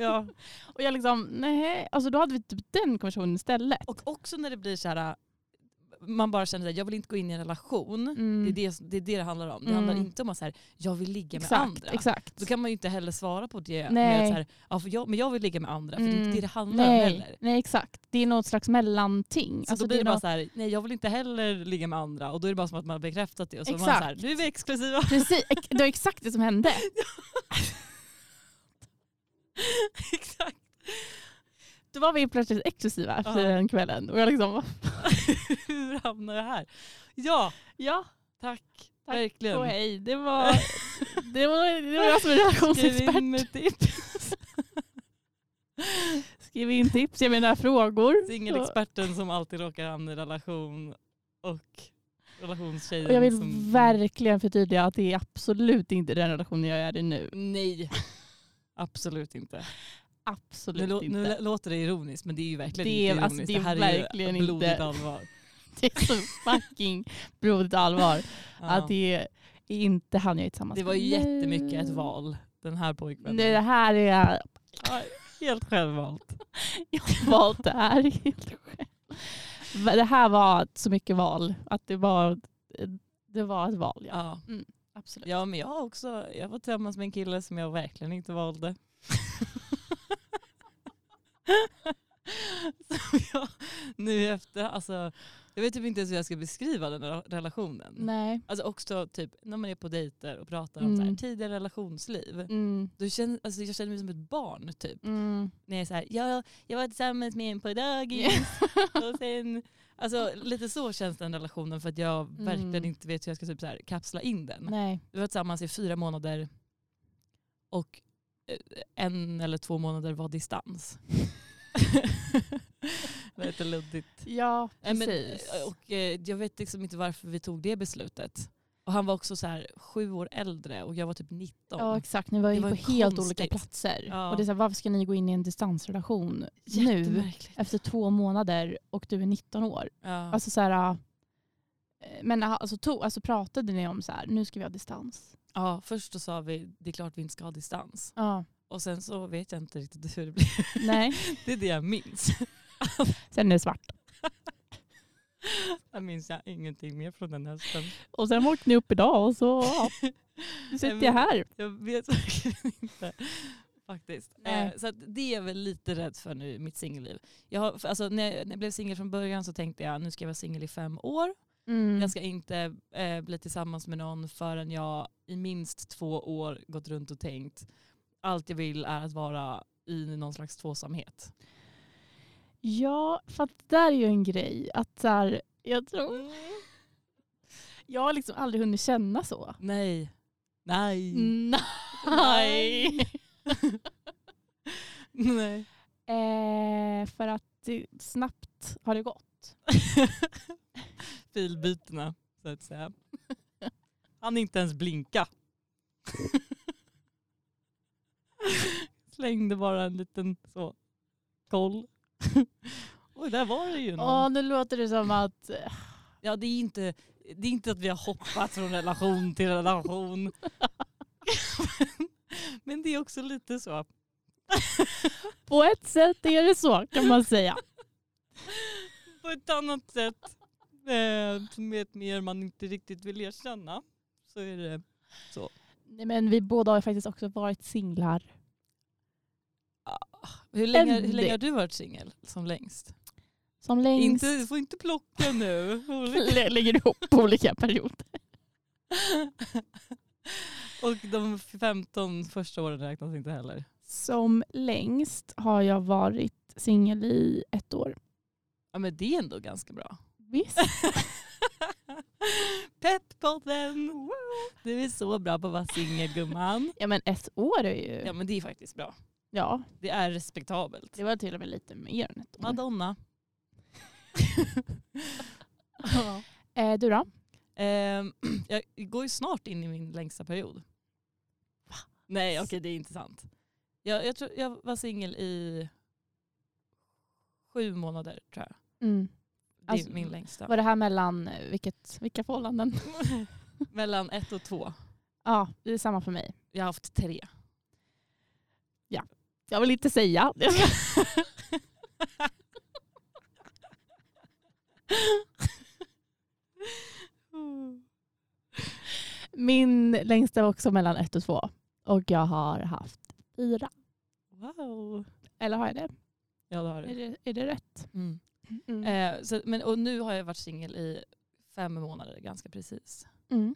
Ja. Och jag liksom, nej, alltså då hade vi typ den konversationen istället. Och också när det blir så här, äh, man bara känner att jag vill inte gå in i en relation. Mm. Det, är det, det är det det handlar om. Det Mm. handlar inte om att så här, jag vill ligga med exakt, andra. Exakt. Då kan man ju inte heller svara på det. Med Nej. att så här, ja, för jag, men jag vill ligga med andra, för det är Mm. inte det det handlar om nej, Alltså, heller. nej, exakt. Det är något slags mellanting. Så då blir det, är bara något- så här, nej jag vill inte heller ligga med andra. Och då är det bara som att man har bekräftat det. Och så är man så här, Exakt. nu är vi exklusiva. Precis, ex- det var exakt det som hände. Exakt. Då var vi plötsligt exklusiva efter Ja. den kvällen. Och jag liksom, "Va? Hur hamnar jag här? Ja, ja, tack. Tack Verkligen. och hej. Det var, det var, det var jag som är relationsexpert. in med tips. Skriv in tips, jag menar frågor. Singelexperten som alltid råkar hamna i relation och relationstjejen Och jag vill som... verkligen förtydliga att det är absolut inte den relationen jag är i nu. Nej. Absolut inte. Nu, Absolut lå- inte. nu lå- låter det ironiskt men det är ju verkligen Det är- inte alltså, ironiskt. det är här verkligen är ju blodigt inte- allvar. Det är så fucking blodigt allvar. Ja. Att det är inte han jag är tillsammans Det var ju med nu. jättemycket ett val, den här pojkvännen. Nej, det här är... Helt självvalt. Jag har valt det här helt själv. Det här var så mycket val. Att det var, det var ett val, ja. Ja. Absolut. ja, men jag har också, jag var tillsammans med en kille som jag verkligen inte valde. Som jag, nu efter, alltså, jag vet typ inte ens hur jag ska beskriva den här relationen. Nej. Alltså också typ när man är på dejter och pratar om så här, Mm. tidigare relationsliv. Mm. Då känner, alltså, jag känner mig som ett barn typ. Mm. När jag är så här, jag, jag var tillsammans med en på dagis. och sen, alltså, lite så känns den relationen för att jag Mm. verkligen inte vet hur jag ska typ, så här, kapsla in den. Nej. Vi var tillsammans i fyra månader och eh, en eller två månader var distans. det är lite luddigt. Ja, Nej, precis. men, eh, och, eh, jag vet liksom inte varför vi tog det beslutet. Och han var också så här, sju år äldre och jag var typ 19. Ja exakt, ni var ju Det var på ju helt konstigt. olika platser. Ja. Och det är så här, varför ska ni gå in i en distansrelation nu Jättemärkligt. efter två månader och du är 19 år? Ja. Alltså så här, eh, men aha, alltså, to, alltså pratade ni om så här, nu ska vi ha distans? ja, först då sa vi det är klart vi inte ska ha distans. Ja. Och sen så vet jag inte riktigt hur det blev. Nej. Det är det jag minns. Sen är det svart. Jag minns jag ingenting mer från den hösten. Och sen åkte ni upp idag och så ja, nu sitter jag här. Jag vet verkligen inte. Faktiskt. Nej. Eh, så att det är jag väl lite rädd för nu, i mitt singelliv. Jag har, för alltså, när, jag, när jag blev singel från början så tänkte jag nu ska jag vara singel i fem år. Mm. Jag ska inte eh, bli tillsammans med någon förrän jag i minst två år gått runt och tänkt allt jag vill är att vara i någon slags tvåsamhet. Ja, för att det där är ju en grej. Att så här, jag tror... Jag har liksom aldrig hunnit känna så. Nej. Nej. Mm. Nej. Nej. Eh, för att det, snabbt har det gått. Filbytena så att säga. Han inte ens blinka. Slängde bara en liten så koll. Oj, där var det ju någon. Åh, nu låter det som att... eh, Ja, det är, inte, det är inte att vi har hoppat från relation till relation. Men det är också lite så. På ett sätt är det så kan man säga. På ett annat sätt, eh, som är ett mer man inte riktigt vill erkänna, så är det Nej, Men vi båda har faktiskt också varit singlar. Hur länge, hur Väldigt. länge har du varit singel som längst? Som längst Inte, du får inte plocka nu. lä- lägger ihop på olika perioder. Och de 15 första åren räknas inte heller. Som längst har jag varit singel i ett år. Ja men det är ändå ganska bra. Visst. Peppodden! Du är så bra på att vara singel gumman. Ja men ett år är ju... Ja men det är faktiskt bra. Ja, Det är respektabelt. det var till och med lite mer än ett år. Madonna. Ja. Eh, du då? Ehm, jag går ju snart in i min längsta period. Nej, okej det är inte sant. Jag, jag, tror, jag var singel i sju månader tror jag. Mm. Det är Alltså, min längsta. Var det här mellan eh, vilket, vilka förhållanden? Mellan ett och två. Ja, det är samma för mig. Jag har haft tre. Jag vill inte säga. Min längsta var också mellan ett och två. Och jag har haft fyra. Wow. Eller har jag det? Ja det har Är du. det, är det rätt? Mm. Mm. Eh, så, men, och nu har jag varit singel i fem månader ganska precis. Mm.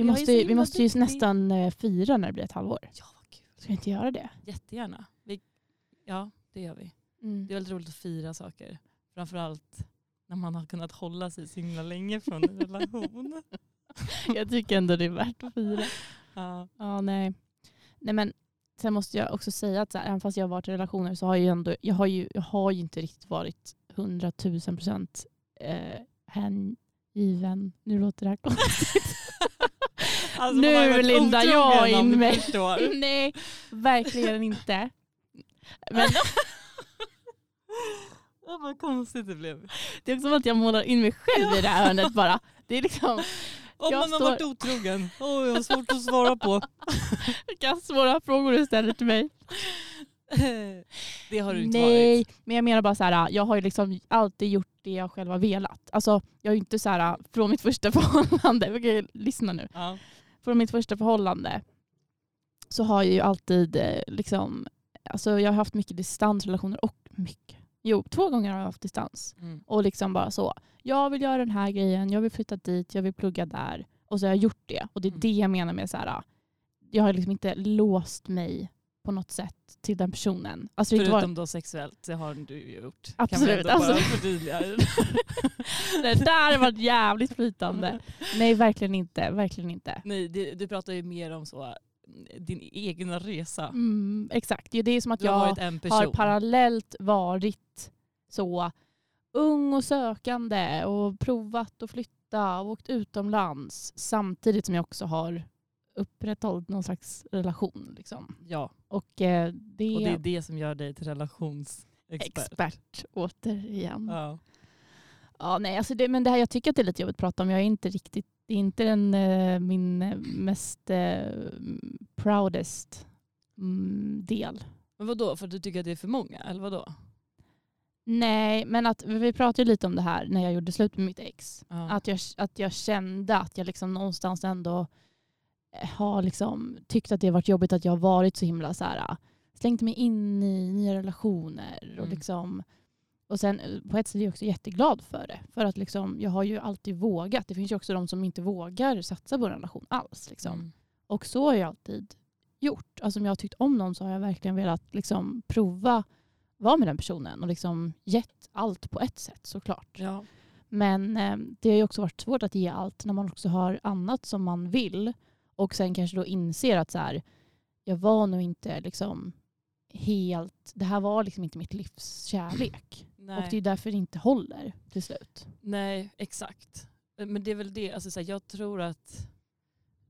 Vi jag är måste, så ju, vi himla måste ju duktig. nästan eh, fira när det blir ett halvår. Ja vad kul. Ska vi inte göra det? Jättegärna. Vi, ja det gör vi. Det är väldigt roligt att fira saker. Framförallt när man har kunnat hålla sig så himla länge från en relation. Jag tycker ändå det är värt att fira. Ja. Ja, nej. nej men, sen måste jag också säga att så här, även fast jag har varit i relationer så har jag, ju ändå, jag, har ju, jag har ju inte riktigt varit 100 000 procent eh, hängiven. Nu låter det här konstigt. Alltså, Nu, man har ju varit Linda, otrogen, jag är om du in mig. förstår. nej, verkligen inte. Men Åh, vad konstigt det blev. det är också som att jag målar in mig själv i det här hörnet bara. Det är liksom, Om Jag man står- har varit otrogen. Oj, jag har svårt att svara på. vilka svåra frågor du ställer till mig. Det har du inte Nej, varit. men jag menar bara så här, jag har ju liksom alltid gjort det jag själv har velat. Alltså, jag är ju inte så här, från mitt första förhållande, okej, lyssna nu. Ja. Från mitt första förhållande så har jag ju alltid eh, liksom, alltså jag har haft mycket distansrelationer och mycket. Jo, två gånger har jag haft distans. Mm. Och liksom bara så, jag vill göra den här grejen, jag vill flytta dit, jag vill plugga där. Och så har jag gjort det. Och det är Mm. det jag menar med så här, jag har liksom inte låst mig på något sätt till den personen. Alltså, det har inte varit- Förutom då sexuellt, det har du ju gjort. Absolut, Kan man ändå bara alltså. förtydliga. Det där var jävligt flytande. Nej, verkligen inte. Verkligen inte. Nej, du, du pratar ju mer om så, din egna resa. Mm, exakt. Jo, Det är som att Du har jag varit en har person. parallellt varit så ung och sökande och provat att flytta och åkt utomlands samtidigt som jag också har upprätthållit någon slags relation. Liksom. ja, Och eh, det och det är är det som gör dig till relationsexpert. expert återigen. Ja. Ja, nej, alltså det, men det här, jag tycker att det är lite jobbigt att prata om. Jag är inte riktigt, det är inte den, eh, min eh, mest eh, proudest mm, del. Men vadå, för att du tycker att det är för många? Eller vadå? Nej, men att, vi pratade ju lite om det här när jag gjorde slut med mitt ex. Ja. Att, jag, att jag kände att jag liksom någonstans ändå eh, har liksom tyckt att det har varit jobbigt att jag har varit så himla så här, eh, slängt mig in i nya relationer. Och, Mm. liksom, och sen eh, på ett sätt är jag också jätteglad för det. För att liksom, jag har ju alltid vågat. Det finns ju också de som inte vågar satsa på en relation alls. Liksom. Mm. Och så har jag alltid gjort. Alltså om jag har tyckt om någon så har jag verkligen velat liksom, prova vara med den personen och liksom gett allt på ett sätt såklart. Ja. Men eh, det har ju också varit svårt att ge allt när man också har annat som man vill och sen kanske då inser att så här, jag var nog inte liksom helt, det här var liksom inte mitt livs kärlek. Nej. Och det är därför det inte håller till slut. Nej, exakt. Men det är väl det, alltså, så här, jag tror att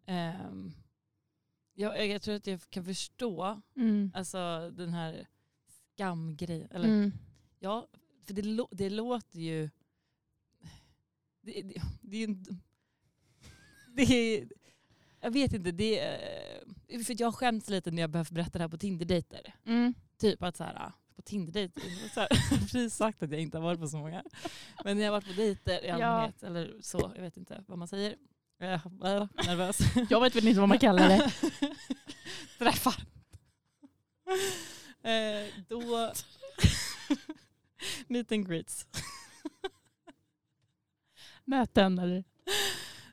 ehm, jag, jag tror att jag kan förstå Mm. alltså, den här skamgrejen. Eller, Mm. Ja, för det, lå- det låter ju... Det, det, det är ju inte... Det är, jag vet inte, det är, för jag skäms lite när jag behöver berätta det här på Tinder-dejter. Mm. Typ att så här, ah, på Tinder-dejter, så här, jag har precis sagt att jag inte har varit på så många. Men när jag har varit på dejter i Ja. allmänhet eller så, jag vet inte vad man säger. Jag är nervös. Jag vet väl inte vad man kallar det. Träffar. eh, då... Meet and greets. Möten eller?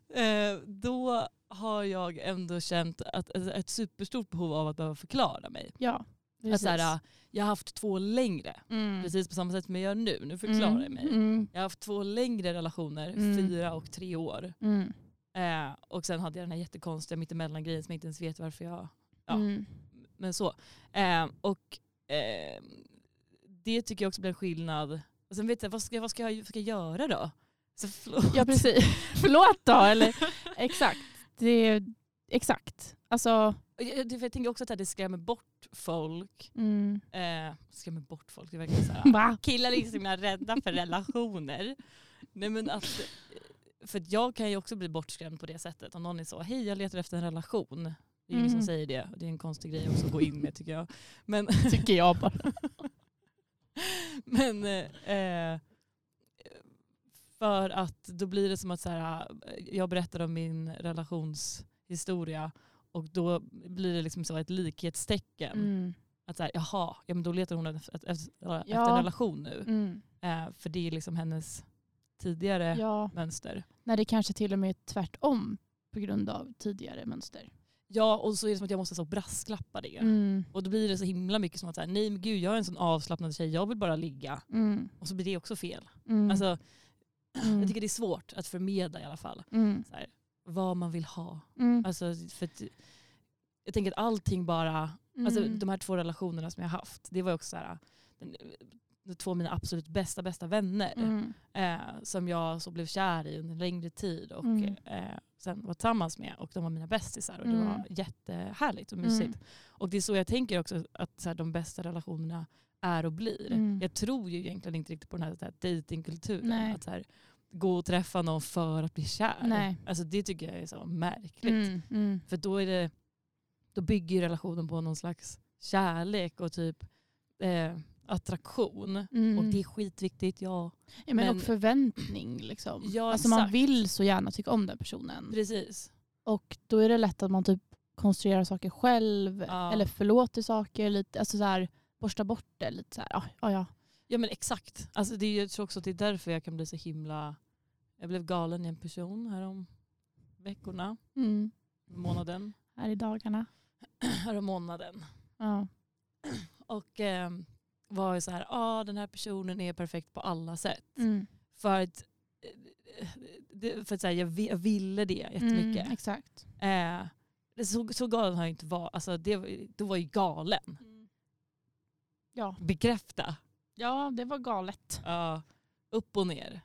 Eh, då har jag ändå känt att, alltså, ett superstort behov av att behöva förklara mig. Ja. Att, så här, ah, jag har haft två längre, Mm. precis på samma sätt som jag gör nu. Nu förklarar jag mig. Mm. Jag har haft två längre relationer, Mm. fyra och tre år. Mm. Eh, och sen hade jag den här jättekonstiga mittemellan-grejen som jag inte ens vet varför jag... Ja. Mm. Men så. Eh, och eh, det tycker jag också blir en skillnad Och sen vet jag, vad ska, vad ska jag ska jag göra då? Så förlåt. Ja precis. Förlåt då. Eller, exakt. Det, är- exakt. Alltså, Och jag, jag, för jag tänker också att det skrämmer bort folk. mm. Eh, skrämmer bort folk, det verkar så här. va? Killar är ju så himla rädda för relationer. Nej men att, för att jag kan ju också bli bortskrämd på det sättet. Om någon är så, hej jag letar efter en relation. Det är ju ingen som Mm. säger det. Det är en konstig grej också att gå in med tycker jag. Men, Tycker jag bara. men eh, eh, för att då blir det som att så här, jag berättar om min relationshistoria och då blir det liksom så ett likhetstecken. Mm. Att så här, jaha, ja, men då letar hon efter, efter, efter en Ja. relation nu. Mm. Eh, för det är liksom hennes tidigare Ja. mönster. När det kanske till och med är tvärtom på grund av tidigare mönster. Ja, och så är det som att jag måste så brasklappa det. Mm. Och då blir det så himla mycket som att så här, nej men gud jag är en sån avslappnad tjej, jag vill bara ligga. Mm. Och så blir det också fel. Mm. Alltså, Mm. Jag tycker det är svårt att förmedla i alla fall Mm. så här, vad man vill ha. Mm. Alltså, för att, jag tänker att allting bara, alltså, Mm. de här två relationerna som jag har haft, det var ju också så här, den, de två av mina absolut bästa bästa vänner Mm. eh, som jag så blev kär i under en längre tid och Mm. eh, sen var tillsammans med och de var mina bästisar och det Mm. var jättehärligt och mysigt. Mm. Och det är så jag tänker också att så här, de bästa relationerna är och blir. Mm. Jag tror ju egentligen inte riktigt på den här, så här dejtingkulturen. Nej. Att så här, gå och träffa någon för att bli kär. Nej. Alltså, det tycker jag är så märkligt. Mm. Mm. För då, är det, då bygger ju relationen på någon slags kärlek och typ eh, attraktion. Mm. Och det är skitviktigt, ja. ja, men men- och förväntning. Liksom. Ja, alltså man exakt. vill så gärna tycka om den personen. Precis. Och då är det lätt att man typ konstruerar saker själv Ja. eller förlåter saker. Lite, alltså så här, borsta bort det lite så här. Ja, ja, ja. Ja men exakt. Alltså det, är ju- jag tror också att det är därför jag kan bli så himla... Jag blev galen i en person härom veckorna, Mm. månaden, Här i dagarna. härom månaden. Ja. Och eh, var ju så här, ah, den här personen är perfekt på alla sätt. Mm. För att, eh, det, för att så här, jag, vi- jag ville det jättemycket. Mm, exakt. Eh, det- så, så galen har jag inte varit. Alltså, det, var- då var jag ju galen. Ja. Bekräfta. ja, det var galet. Ja, upp och ner.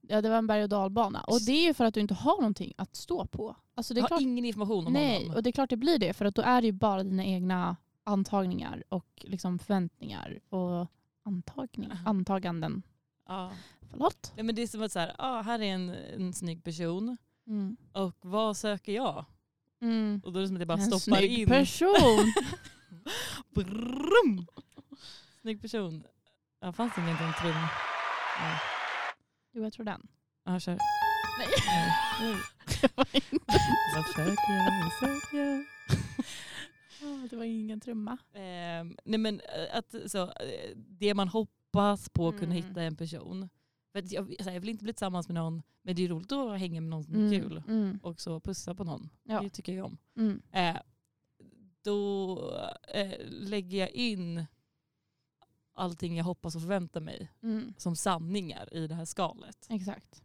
Ja, det var en berg och dalbana. Och det är ju för att du inte har någonting att stå på. Alltså, det är Jag har klart, ingen information om nej, honom. och det är klart det blir det. För att då är det ju bara dina egna antagningar och liksom förväntningar och antagning, antaganden. Ja. Förlåt? Nej, men det är som att så här, ah, här är en, en snygg person Mm. och vad söker jag? Mm. Och då är det som att jag bara en stoppar snygg in. person. Brum! Snygg person. Ja, fanns det ingen den tron? Ja, Jo, jag tror den. ja kör. Nej. Nej. Vad söker jag? Vad söker jag? Åh, det var ingen trumma. Ehm, nej men eh, att så, eh, det man hoppas på att kunna Mm. hitta i en person. För att jag, så här, jag vill inte bli tillsammans med någon, men det är roligt att hänga med någon som är kul. Mm. Och så pussa på någon. Ja. Det tycker jag om. Mm. Eh, då eh, lägger jag in allting jag hoppas och förväntar mig Mm. som sanningar i det här skalet. Exakt.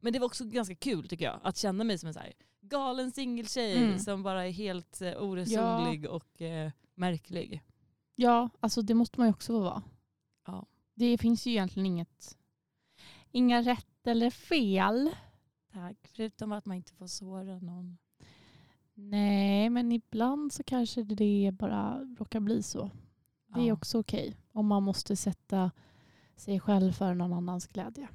Men det var också ganska kul tycker jag, att känna mig som en så här galen singeltjej Mm. som bara är helt eh, oresonlig och eh, märklig. Ja, alltså det måste man ju också få vara. Ja. Det finns ju egentligen inget, inga rätt eller fel. Tack, förutom att man inte får såra någon. Nej, men ibland så kanske det bara råkar bli så. Det är Ja. också okej om man måste sätta sig själv för någon annans glädje.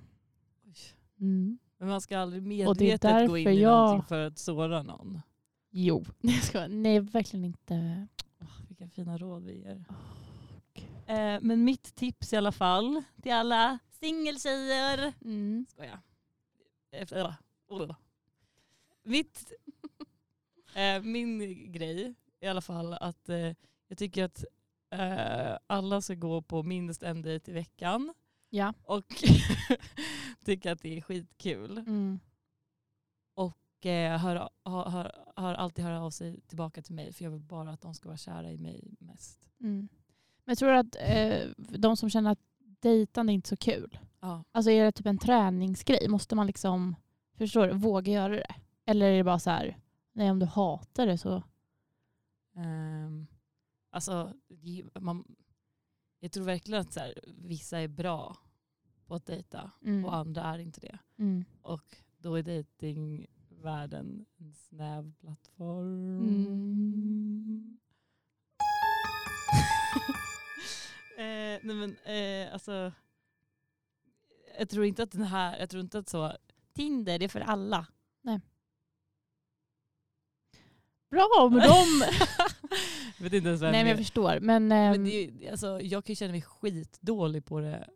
Oj. Mm. Men man ska aldrig Och det är medvetet gå in därför i jag- någonting för att såra någon. Jo, jag skojar. Nej, verkligen inte. Åh, vilka fina råd vi ger. Åh, Gud. Eh, men mitt tips i alla fall till alla singeltjejer. Mm. Skoja. Efter, eller, eller. Mitt, eh, min grej i alla fall att eh, jag tycker att eh, alla ska gå på minst en dejt i veckan Ja. och tycker att det är skitkul. Mm. Och eh, hör, hör, hör, hör alltid höra av sig tillbaka till mig för jag vill bara att de ska vara kära i mig mest. Mm. Men jag tror att eh, de som känner att dejtande är inte så kul, Ja. alltså är det typ en träningsgrej? Måste man liksom, förstår du, våga göra det? Eller är det bara så här, nej om du hatar det så, Ehm, alltså, det- man, jag tror verkligen att så här, vissa är bra på att dejta Mm. och andra är inte det. Mm. Och då är dejtingvärlden en snäv plattform. Mm. eh, nej men eh, alltså. Jag tror inte att den här, jag tror inte att så. Tinder det är för alla. Bra med dem! jag vet inte ens vad Nej jag men jag menar. förstår. Men, ehm, men det är, ju- alltså, jag kan ju känna mig skitdålig på det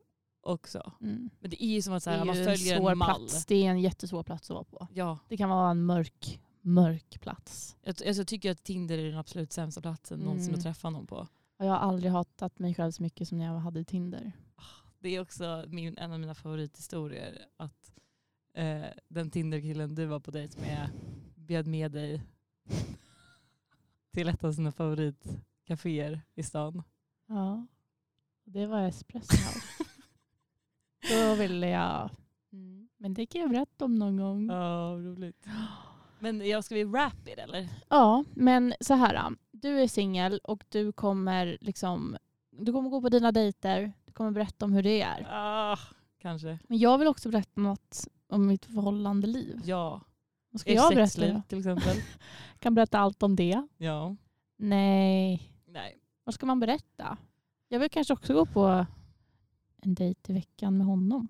också. mm. Men det är ju som att så det är här, ju man en följer svår en mall. plats. Det är en jättesvår plats att vara på. Ja, Det kan vara en mörk, mörk plats. jag, alltså, jag tycker att Tinder är den absolut sämsta platsen någonsin Mm. att träffa någon på. Och jag har aldrig hatat mig själv så mycket som när jag hade Tinder. Det är också min, en av mina favorithistorier. Att eh, den Tinderkillen du var på dejt med bjöd med dig till ett av sina favoritcaféer i stan. Ja. Det var espresso house. Då ville jag... Mm. Men det kan jag berätta om någon gång. Ja, roligt. Men jag ska vi wrap it eller? Ja, men så här. äh, Du är singel och du kommer liksom du kommer gå på dina dejter. Du kommer berätta om hur det är. Ah, kanske. Men jag vill också berätta något om mitt förhållande liv. Ja. Vad ska Ert jag berätta? sexliv då? till exempel. Jag kan berätta allt om det. ja. Nej, Nej. vad ska man berätta? Jag vill kanske också gå på en dejt i veckan med honom.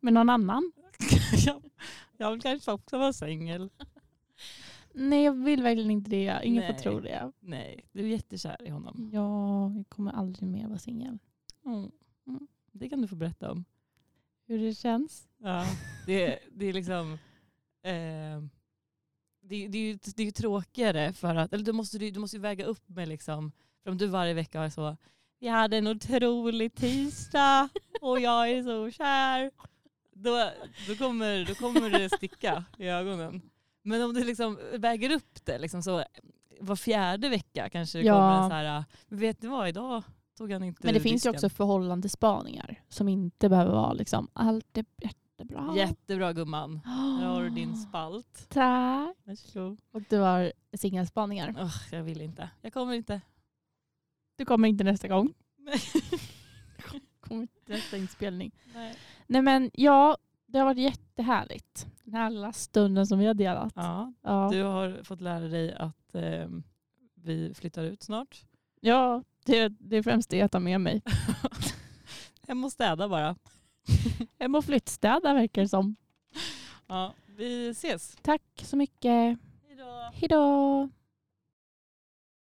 Med någon annan. jag, jag vill kanske också vara singel. Nej, jag vill verkligen inte det. Ingen får Nej. tro det. Nej, du är jättekär i Mm. honom. Jag kommer aldrig mer vara singel. Mm. Mm. Det kan du få berätta om. Hur det känns? Ja, det, det är liksom... Eh, det, det, är ju, det är ju tråkigare för att... Eller du måste, du, du måste ju väga upp med liksom... För om du varje vecka har så... Vi hade en otrolig tisdag och jag är så kär. Då, då, kommer, då kommer det sticka i ögonen. Men om du liksom väger upp det liksom så var fjärde vecka kanske det Ja. kommer en så här... Vet ni vad, idag tog han inte Men det finns ju disken." också förhållandespaningar som inte behöver vara liksom allt är jättebra. Jättebra gumman. Här har du din Ah, spalt. Tack. Varsågod. Och du har singelspaningar. Åh, jag vill inte. Jag kommer inte. Du kommer inte nästa gång. Nej. Kommer inte nästa inspelning. Nej men ja, det har varit jättehärligt. Den här lilla stunden som vi har delat. Ja, Ja, du har fått lära dig att eh, vi flyttar ut snart. ja det, det är främst det jag tar med mig. Hem och städa bara. Hem och flyttstäda verkar det som. Ja, vi ses. Tack så mycket. Hej då. Hejdå.